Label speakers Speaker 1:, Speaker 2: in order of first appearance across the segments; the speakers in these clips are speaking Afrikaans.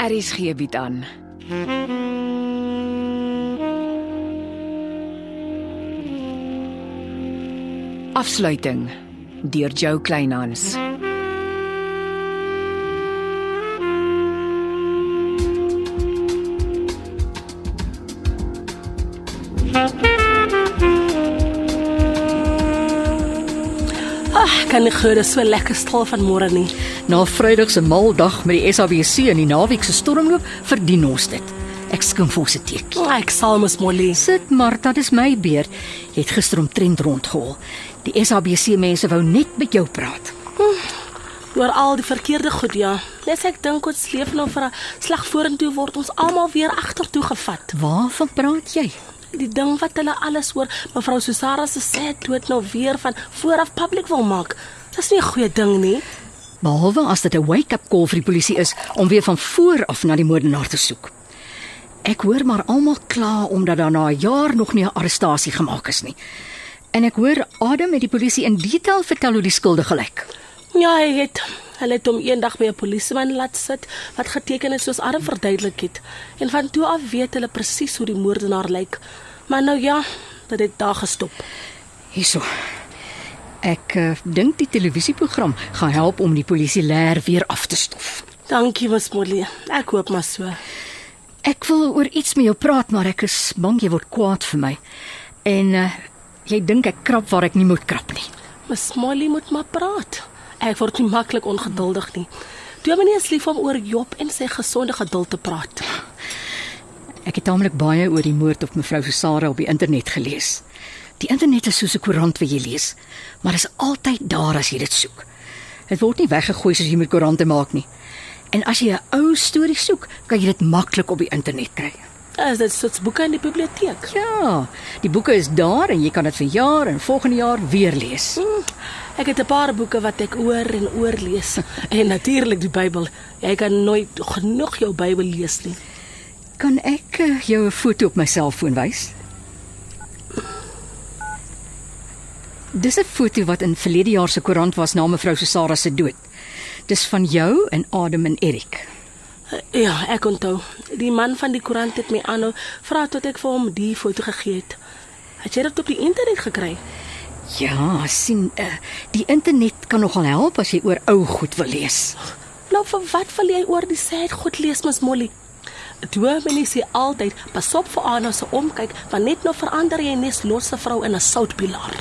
Speaker 1: Aries gee bied Er aan. Afsluiting deur Jo Kleinhans.
Speaker 2: Ag, Ah, kan nie glo dis so lekker stil vanmôre nie.
Speaker 3: Na Vrydag se maldag met die SABC en die naweek se stormloop verdien ons dit. Ek skink vir ons 'n teekie.
Speaker 2: Maar Ah, ek sal mos Molly.
Speaker 3: Sit Martha, dis my beurt. Jy het gister omtrent rondgehol. Die SABC mense wou net met jou praat.
Speaker 2: Oor al die verkeerde goed ja. Net ek dink ons leef nou vir 'n slag vorentoe word ons almal weer agtertoe gevat.
Speaker 3: Waarvan praat jy?
Speaker 2: Die ding wat hulle alles oor mevrou Susara se sê dood nou weer van vooraf publiek wil maak. Dis nie 'n goeie ding nie.
Speaker 3: Behalwe as dit 'n wake-up call vir die polisie is om weer van voor af na die moordenaar te soek. Ek hoor maar almal kla omdat daar na 'n jaar nog nie 'n arrestasie gemaak is nie. En ek hoor Adam het die polisie in detail vertel hoe die skuldige lyk.
Speaker 2: Ja, hy het hulle het hom eendag by 'n polisieman laat sit wat geteken het soos Adam verduidelik het. En van toe af weet hulle presies hoe die moordenaar lyk. Maar nou ja, dit het daar gestop.
Speaker 3: Hierso. Ek uh, dink die televisieprogram gaan help om die polisie leer weer af te stof.
Speaker 2: Dankie, Ms Molly. Ek hoop maar so.
Speaker 3: Ek wil oor iets met jou praat, maar ek is bang jy word kwaad vir my. En uh, jy dink ek krap waar ek nie moet krap nie.
Speaker 2: Ms Molly moet maar praat. Ek word nie maklik ongeduldig nie. Dominee is lief om oor Job en sy gesonde geduld te praat.
Speaker 3: Ek het taamlik baie oor die moord op mevrou Susara op die internet gelees. Die internet is soos 'n koerant wat jy lees, maar is altyd daar as jy dit soek. Dit word nie weggegooi soos jy met koerante maak nie. En as jy 'n ou storie soek, kan jy dit maklik op die internet kry.
Speaker 2: Is dit soos boeke in die biblioteek?
Speaker 3: Ja, die boeke is daar en jy kan dit vir jaar en volgende jaar weer lees.
Speaker 2: Hmm, Ek het 'n paar boeke wat ek oor en oor lees en natuurlik die Bybel. Jy kan nooit genoeg jou Bybel lees nie.
Speaker 3: Kan ek eh, jou 'n foto op my selfoon wys? Dis 'n foto wat in verlede jaar se koerant was na mevrou Susara se dood. Dis van jou en Adam en Erik.
Speaker 2: Ja, ek onthou. Die man van die koerant het my aanhou vra tot ek vir hom die foto gegee het. Het jy dit op die internet gekry?
Speaker 3: Ja, sien, uh, die internet kan nogal help as jy oor ou goed wil lees.
Speaker 2: Nou vir wat wil jy oor die sad goed lees, Ms Molly? Dominee sê altyd, pas op vir Anna se omkyk, want net nou verander jy nes losse vrou in 'n soutpilaar.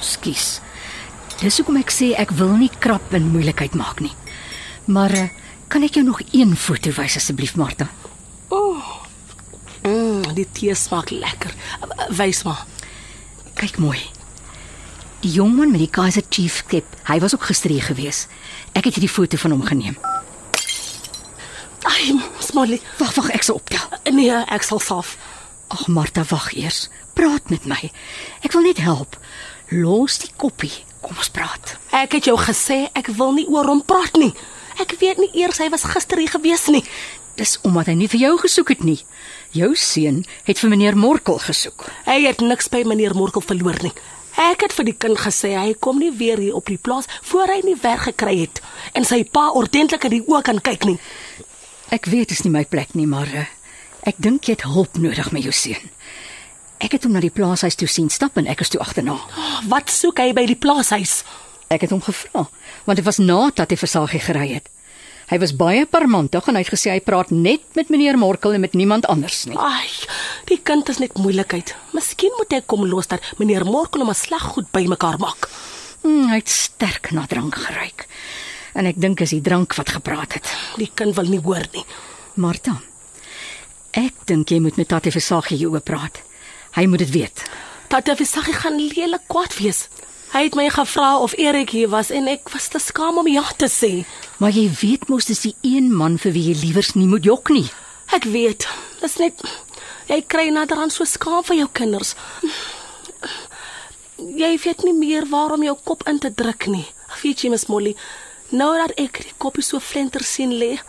Speaker 3: Skus. Dis hoekom ek sê ek wil nie krap en moeilikheid maak nie. Maar uh, kan ek jou nog een foto wys asseblief, Martha?
Speaker 2: Mm, die tee smaak lekker. Wys maar.
Speaker 3: Kyk mooi. Die jongman met die Kaiser Chief klep, hy was ook gister hier gewees. Ek het hierdie foto van hom geneem.
Speaker 2: Ai, Ms Molly.
Speaker 3: Wag, wag, ek sal optel.
Speaker 2: Nee, ek sal self.
Speaker 3: Ag Martha, wag eers. Praat met my. Ek wil net help. Los die koppie. Kom ons praat.
Speaker 2: Ek het jou gesê ek wil nie oor hom praat nie. Ek weet nie eers hy was gister hier gewees nie.
Speaker 3: Dis omdat hy nie vir jou gesoek het nie. Jou seun het vir meneer Morkel gesoek.
Speaker 2: Hy het niks by meneer Morkel verloor nie. Ek het vir die kind gesê hy kom nie weer hier op die plaas voor hy nie werk gekry het en sy pa ordentlik in die oë kan kyk nie.
Speaker 3: Ek weet dis nie my plek nie, maar eh, ek dink jy het hulp nodig met jou seun. Ek het hom na die plaashuis toe sien stap en ek is toe agterna.
Speaker 2: Ah, Wat soek hy by die plaashuis?
Speaker 3: Ek het hom gevra, want dit was nadat hy versagie gery het. Hy was baie parmantig en hy het gesê hy praat net met meneer Morkel en met niemand anders nie.
Speaker 2: Ai, die kind is net moeilikheid. Miskien moet ek kom los dat meneer Morkel hom 'n slag goed bymekaar maak.
Speaker 3: Hmm, hy het sterk na drank geruik. En ek dink is die drank wat gepraat het.
Speaker 2: Die kind wil nie hoor nie.
Speaker 3: Martha. Ek dink jy moet met Tatie Versagie hieroor praat. Hy moet dit weet.
Speaker 2: Tata Visagi gaan lelik kwaad wees. Hy het my gevra of Erik hier was en ek was te skaam om ja te sê.
Speaker 3: Maar jy weet mos dis die een man vir wie jy liewers nie moet jok nie.
Speaker 2: Ek weet, dis net jy kry naderhand so skaam vir jou kinders. Jy weet nie meer waarom jou kop in te druk nie. Ag, Weet jy, Miss Molly, nou dat ek die koppie so flenter sien lê,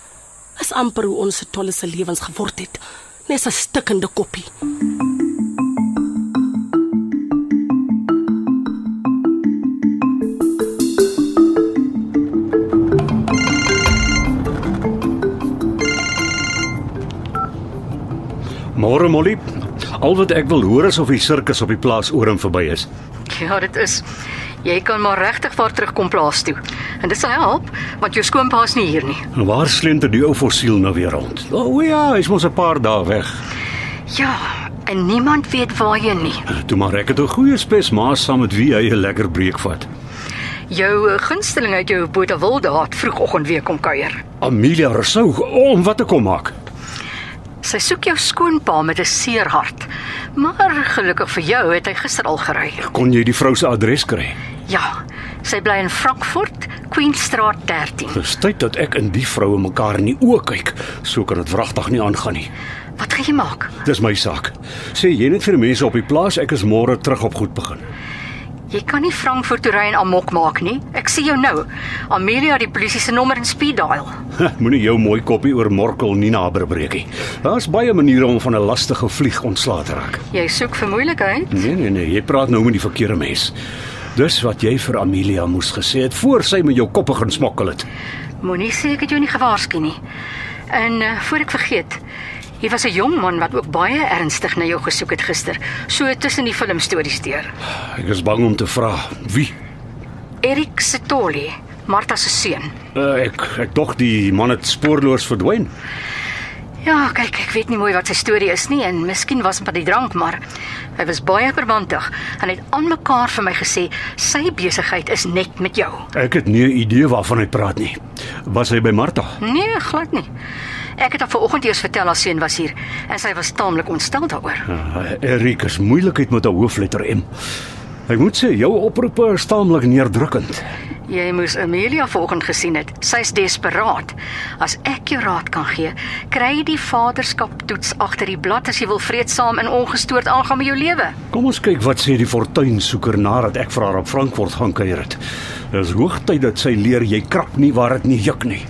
Speaker 2: is amper hoe ons se tolle se lewens geword het. Net 'n stikkende koppie.
Speaker 4: Môre Molly. Al wat ek wil hoor is of die sirkus op die plaas oor en verby is.
Speaker 3: Ja, dit is. Jy kan maar regtig vaar terugkom plaas toe. En dit sal help, want jou skoonpa is nie hier nie.
Speaker 4: En waar slenter die ou fossiel nou weer rond? O oh, ja, hy's mos 'n paar dae weg.
Speaker 3: Ja, en niemand weet waarheen nie.
Speaker 4: Toe maar ek het 'n goeie spes maas saam met wie hy 'n lekker breek vat.
Speaker 3: Jou eh, gunsteling uit jou Botawilde het vroegoggend weer kom kuier.
Speaker 4: Amelia Rousseau om wat te kom maak.
Speaker 3: Sy soek jou skoonpa met 'n seer hart. Maar gelukkig vir jou het hy gister al gery.
Speaker 4: Kon jy die vrou se adres kry?
Speaker 3: Ja, sy bly in Frankfurt, Queenstraat 13.
Speaker 4: Dis tyd dat ek en die vroue mekaar in die oë kyk. So kan dit wragtig nie aangaan nie.
Speaker 3: Wat gaan jy maak?
Speaker 4: Dis my saak. Sê jy net vir die mense op die plaas ek is môre terug op goed begin.
Speaker 3: Jy kan nie Frankfurt toe ry en amok maak nie. Ek sien jou nou. Amelia het die polisie se nommer in speed dial.
Speaker 4: Moenie jou mooi koppie oor Morkel Nina breekie. Daar's baie maniere om van 'n lastige vlieg ontslae te raak.
Speaker 3: Jy soek vir moeilikheid.
Speaker 4: Nee nee nee, jy praat nou met die verkeerde mens. Dis wat jy vir Amelia moes gesê het voor sy met jou koppe gaan smokkel het.
Speaker 3: Moenie sê ek het jou nie gewaarsku nie. En uh, voor ek vergeet, hier was 'n jong man wat ook baie ernstig na jou gesoek het gister, so tussen die filmstories deur.
Speaker 4: Ek is bang om te vra wie.
Speaker 3: Erik Setoli, Martha se seun.
Speaker 4: Uh, ek ek dog die man het spoorloos verdwyn.
Speaker 3: Ja, kyk, ek weet nie mooi wat sy storie is nie en miskien was dit by die drank, maar hy was baie verbandig en het aan mekaar vir my gesê sy besigheid is net met jou.
Speaker 4: Ek het nie 'n idee waarvan hy praat nie. Was hy by Martha?
Speaker 3: Nee, glad nie. Ek het haar vanoggend eers vertel haar seun was hier en sy was taamlik ontstel daaroor.
Speaker 4: Uh, Erik is moeilikheid met 'n hoofletter M. Ek moet sê jou oproepe is taamlik neerdrukkend.
Speaker 3: Jy moes Amelia vanoggend gesien het. Sy's desperaat. As ek jou raad kan gee, kry die vaderskaptoets agter die blad as jy wil vreedsaam en ongestoord aangaan met jou lewe.
Speaker 4: Kom ons kyk wat sê die fortuinsoeker nadat ek vir haar op Frankfurt gaan kuier het. Dis hoogtyd dat sy leer jy krap nie waar dit nie juk nie.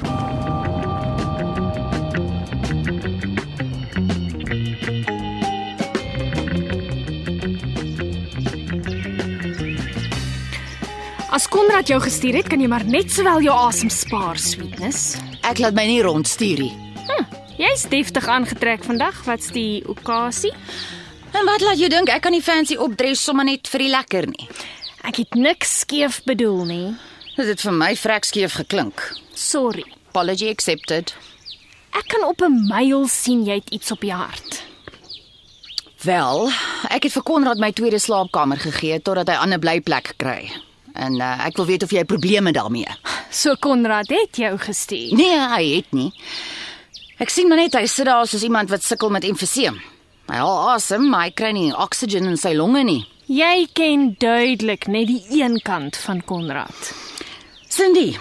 Speaker 5: As Konrad jou gestuur het, kan jy maar net sowel jou asem spaar, sweetness.
Speaker 6: Ek laat my nie rondstuur nie.
Speaker 5: Jy's deftig aangetrek vandag. Wat's die okasie?
Speaker 6: En wat laat jou dink ek kan nie fancy opdress sommer net vir die lekker nie?
Speaker 5: Ek het niks skeef bedoel nie.
Speaker 6: Dit het vir my vrekskeef geklink.
Speaker 5: Sorry.
Speaker 6: Apology accepted.
Speaker 5: Ek kan op 'n myl sien jy het iets op jou hart.
Speaker 6: Wel, ek het vir Konrad my tweede slaapkamer gegee totdat hy 'n ander blyplek kry. En uh, ek wil weet of jy probleme daarmee.
Speaker 5: So Konrad het jou gestuur.
Speaker 6: Nee, hy het nie. Ek sien maar net hy sit daar soos iemand wat sukkel met emfyseem. Hy haal asem, maar hy kry nie oksijin in sy longe nie.
Speaker 5: Jy ken duidelik net die een kant van Konrad.
Speaker 6: Cindy,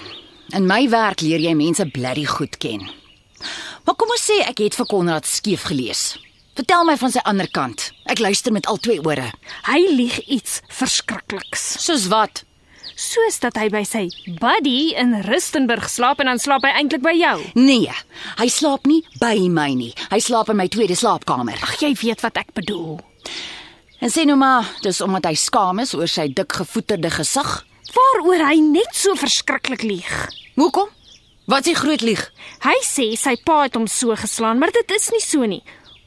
Speaker 6: in my werk leer jy mense blerry goed ken. Maar kom ons sê ek het vir Konrad skeef gelees. Vertel my van sy ander kant. Ek luister met al twee ore.
Speaker 5: Hy lieg iets verskrikliks.
Speaker 6: Soos wat?
Speaker 5: Soos dat hy by sy buddy in Rustenburg slaap en dan slaap hy eintlik by jou.
Speaker 6: Nee, hy slaap nie by my nie. Hy slaap in my tweede slaapkamer.
Speaker 5: Ag jy weet wat ek bedoel.
Speaker 6: En sê nou maar, dis omdat hy skaam is oor sy dik gevoeterde gesig.
Speaker 5: Waaroor hy net so verskriklik lieg.
Speaker 6: Hoekom? Wat is die groot lieg?
Speaker 5: Hy sê sy pa het hom so geslaan, maar dit is nie so nie.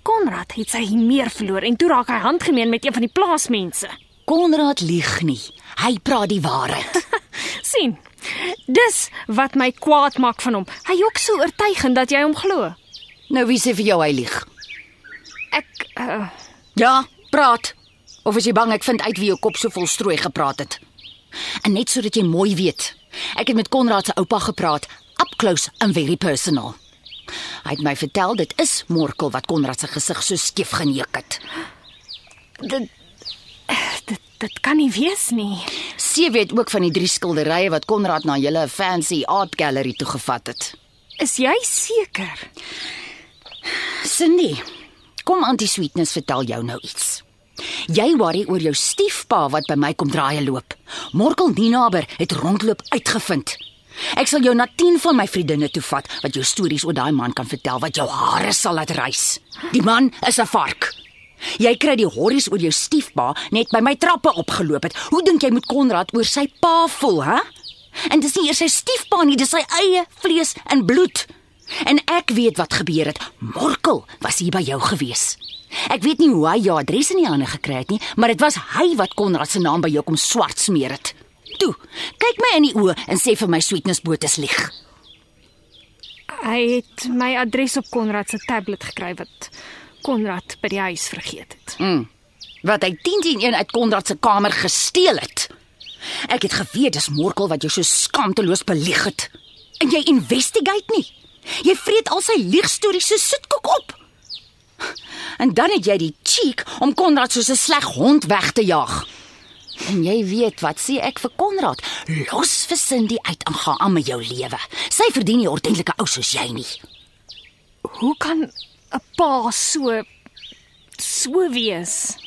Speaker 5: Konrad het sy meer verloor en toe raak hy handgemeen met een van die plaasmense.
Speaker 6: Konrad lieg nie. Hy praat die waarheid.
Speaker 5: sien. Dis wat my kwaad maak van hom. Hy jok so oortuigend dat jy hom glo.
Speaker 6: nou wie sê vir jou hy lieg?
Speaker 5: Ek uh,
Speaker 6: Ja, praat. Of is jy bang ek vind uit wie jou kop so vol strooi gepraat het? En net sodat jy mooi weet. Ek het met Konrad se oupa gepraat, up close and very personal. Hy het my vertel dit is Morkel wat Konrad se gesig so skief geneuk het.
Speaker 5: dit, dit dit kan nie wees nie.
Speaker 6: Sie weet ook van die drie skilderye wat Konrad na julle fancy art gallery toe gevat het.
Speaker 5: Is jy seker?
Speaker 6: Cindy, kom Auntie Sweetness vertel jou nou iets. Jy worry oor jou stiefpa wat by my kom draaie loop. Morkel Ninaber het rondloop uitgevind. Ek sal jou na 10 van my vriendinne toe vat wat jou stories oor daai man kan vertel wat jou hare sal laat rys. Die man is 'n vark. Jy kry die horries oor jou stiefpa net by my trappe opgeloop het. Hoe dink jy moet Konrad oor sy pa voel, hè? En dis nie eers sy stiefpa nie, dis sy eie vlees en bloed. En ek weet wat gebeur het. Morkel was hier by jou gewees. Ek weet nie hoe hy jou adres in die hande gekry het nie, maar dit was hy wat Konrad se naam by jou kom swart smeer het. Toe, kyk my in die oë en sê vir my sweetness botes lieg.
Speaker 5: Hy het my adres op Konrad se tablet gekry wat Konrad by die huis vergeet het.
Speaker 6: wat hy 10-10-1 uit Konrad se kamer gesteel het. Ek het geweet dis Morkel wat jou so skamteloos belieg het. En jy investigate nie. Jy vreet al sy leugstories so soetkoek op. En dan het jy die cheek om Konrad soos 'n sleg hond weg te jaag. En jy weet wat sê ek vir Konrad? Los vir Cindy uit en gaan aan met jou lewe. Sy verdien nie 'n ordentlike ou soos jy nie.
Speaker 5: Hoe kan 'n pa so so wees?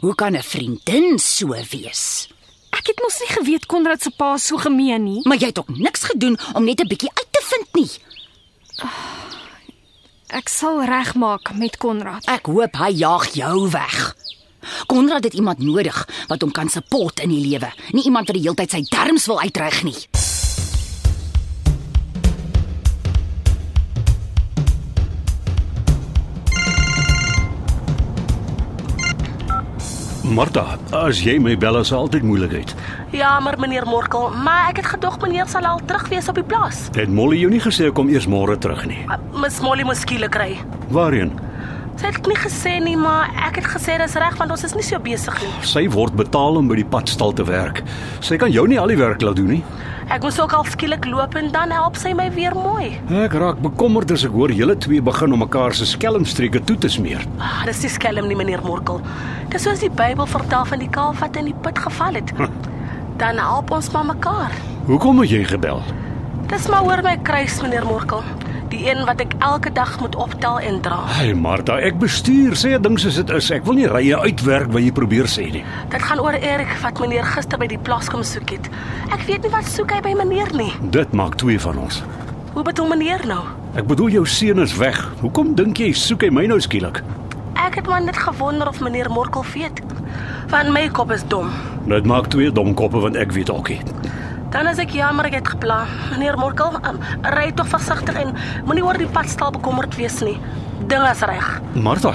Speaker 6: Hoe kan 'n vriendin so wees?
Speaker 5: Ek het mos nie geweet Konrad se pa is so gemeen nie.
Speaker 6: Maar jy het ook niks gedoen om net 'n bietjie uit te vind nie.
Speaker 5: Ek sal regmaak met Konrad.
Speaker 6: Ek hoop hy jaag jou weg. Konrad het iemand nodig wat hom kan support in die lewe, nie iemand wat die hele tyd sy derms wil uitreik nie.
Speaker 4: Martha, as jy my bel is altyd moeilikheid.
Speaker 2: Ja, maar meneer Morkel, maar ek het gedog meneer sal al terug wees op die plaas.
Speaker 4: Het Molly jou nie gesê kom eers môre terug nie?
Speaker 2: Ah, Miss Molly moes skielik kry.
Speaker 4: Waarheen?
Speaker 2: Sy het dit nie gesê nie, maar ek het gesê dis reg want ons is nie so besig nie.
Speaker 4: Sy word betaal om by die padstal te werk. Sy kan jou nie al die werk laat doen nie.
Speaker 2: Ek moes ook al skielik loop en dan help sy my weer mooi.
Speaker 4: Ek raak bekommerd as ek hoor julle twee begin om mekaar se skelmstreke toe te smeer.
Speaker 2: Ah, dis nie skelm nie, meneer Morkel. Dis soos die Bybel vertel van die kalf wat in die put geval het. Dan help ons maar mekaar.
Speaker 4: Hoekom het jy gebel?
Speaker 2: Dis maar oor my kruis, meneer Morkel. Die een wat ek elke dag moet optel en dra.
Speaker 4: Hey Martha, ek bestuur sê 'n ding soos dit is. Ek wil nie rye uitwerk wat jy probeer sê nie.
Speaker 2: Dit gaan oor Erik wat meneer gister by die plaas kom soek het. Ek weet nie wat soek hy by meneer nie.
Speaker 4: Dit maak twee van ons.
Speaker 2: Hoe bedoel meneer nou?
Speaker 4: Ek bedoel jou seun is weg. Hoekom dink jy soek hy my nou skielik?
Speaker 2: Ek het maar net gewonder of meneer Morkel weet. Van my kop is dom.
Speaker 4: Nou, Dit maak twee domkoppe want ek weet ook nie.
Speaker 2: Dan as ek jammer ek het gepla. Meneer Morkel, um, ry tog versigtig en moenie oor die padstal bekommerd wees nie. Ding is reg.
Speaker 4: Martha,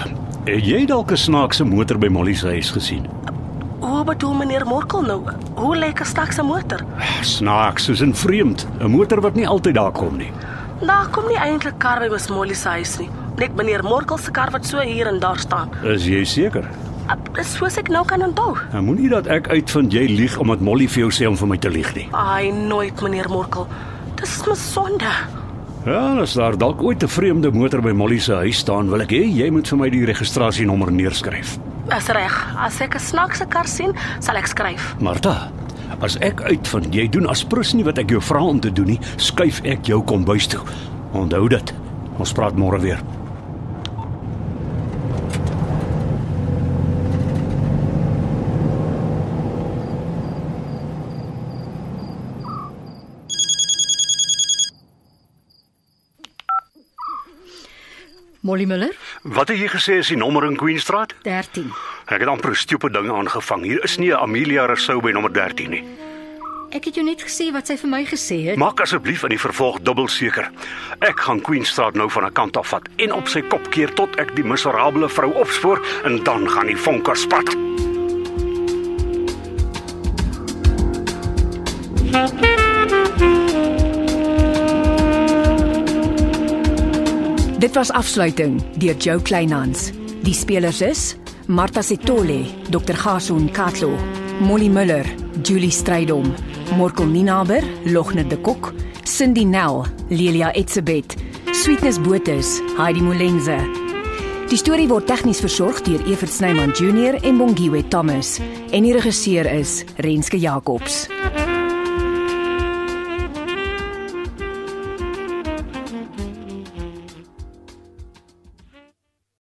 Speaker 4: het jy dalk 'n snaakse motor by Molly se huis gesien?
Speaker 2: Hoe bedoel meneer Morkel nou? Hoe lyk 'n stakse motor?
Speaker 4: Snaaks, soos 'n vreemd, 'n motor wat nie altyd daar kom nie.
Speaker 2: Daar kom nie eintlik kar by Miss Molly se huis nie. Net meneer Morkel se kar wat so hier en daar staan.
Speaker 4: Is jy seker?
Speaker 2: Uh, Dis soos ek nou kan onthou.
Speaker 4: En moenie dat ek uitvind jy lieg omdat Molly vir jou sê om vir my te lieg nie.
Speaker 2: Ai, nooit meneer Morkel. Dis my sonde.
Speaker 4: Ja, as daar dalk ooit 'n vreemde motor by Molly se huis staan, wil ek hê jy moet vir my die registrasienommer neerskryf.
Speaker 2: As reg, as ek 'n snaakse kar sien, sal ek skryf.
Speaker 4: Martha, as ek uitvind jy doen asprus nie wat ek jou vra om te doen nie, skuif ek jou kombuis toe. Onthou dit. Ons praat môre weer.
Speaker 3: Molly Müller,
Speaker 4: Wat het jy gesê is die nommer in Queenstraat?
Speaker 3: 13.
Speaker 4: Ek het amper 'n stupide ding aangevang. Hier is nie 'n Amelia Rousseau by nommer 13 nie.
Speaker 3: Ek het jou net gesê wat sy vir my gesê het.
Speaker 4: Maak asseblief in die vervolg dubbel seker. Ek gaan Queenstraat nou van 'n kant af vat en op sy kop keer tot ek die miserabele vrou opspoor en dan gaan die vonke spat.
Speaker 1: Dit was afsluiting deur Jo Kleinhans. Die spelers is Martha Setole, Dr. Gason Katlo, Molly Müller, Julie Strydom, Morkel Ninaber, Logne de Kok, Cindy Nel, Lelia Etsebet, Sweetness Botha, Heidi Molenze. Die storie word tegnies versorg deur Evert Snyman Junior en Bongwe Thomas en die regisseur is Renske Jacobs.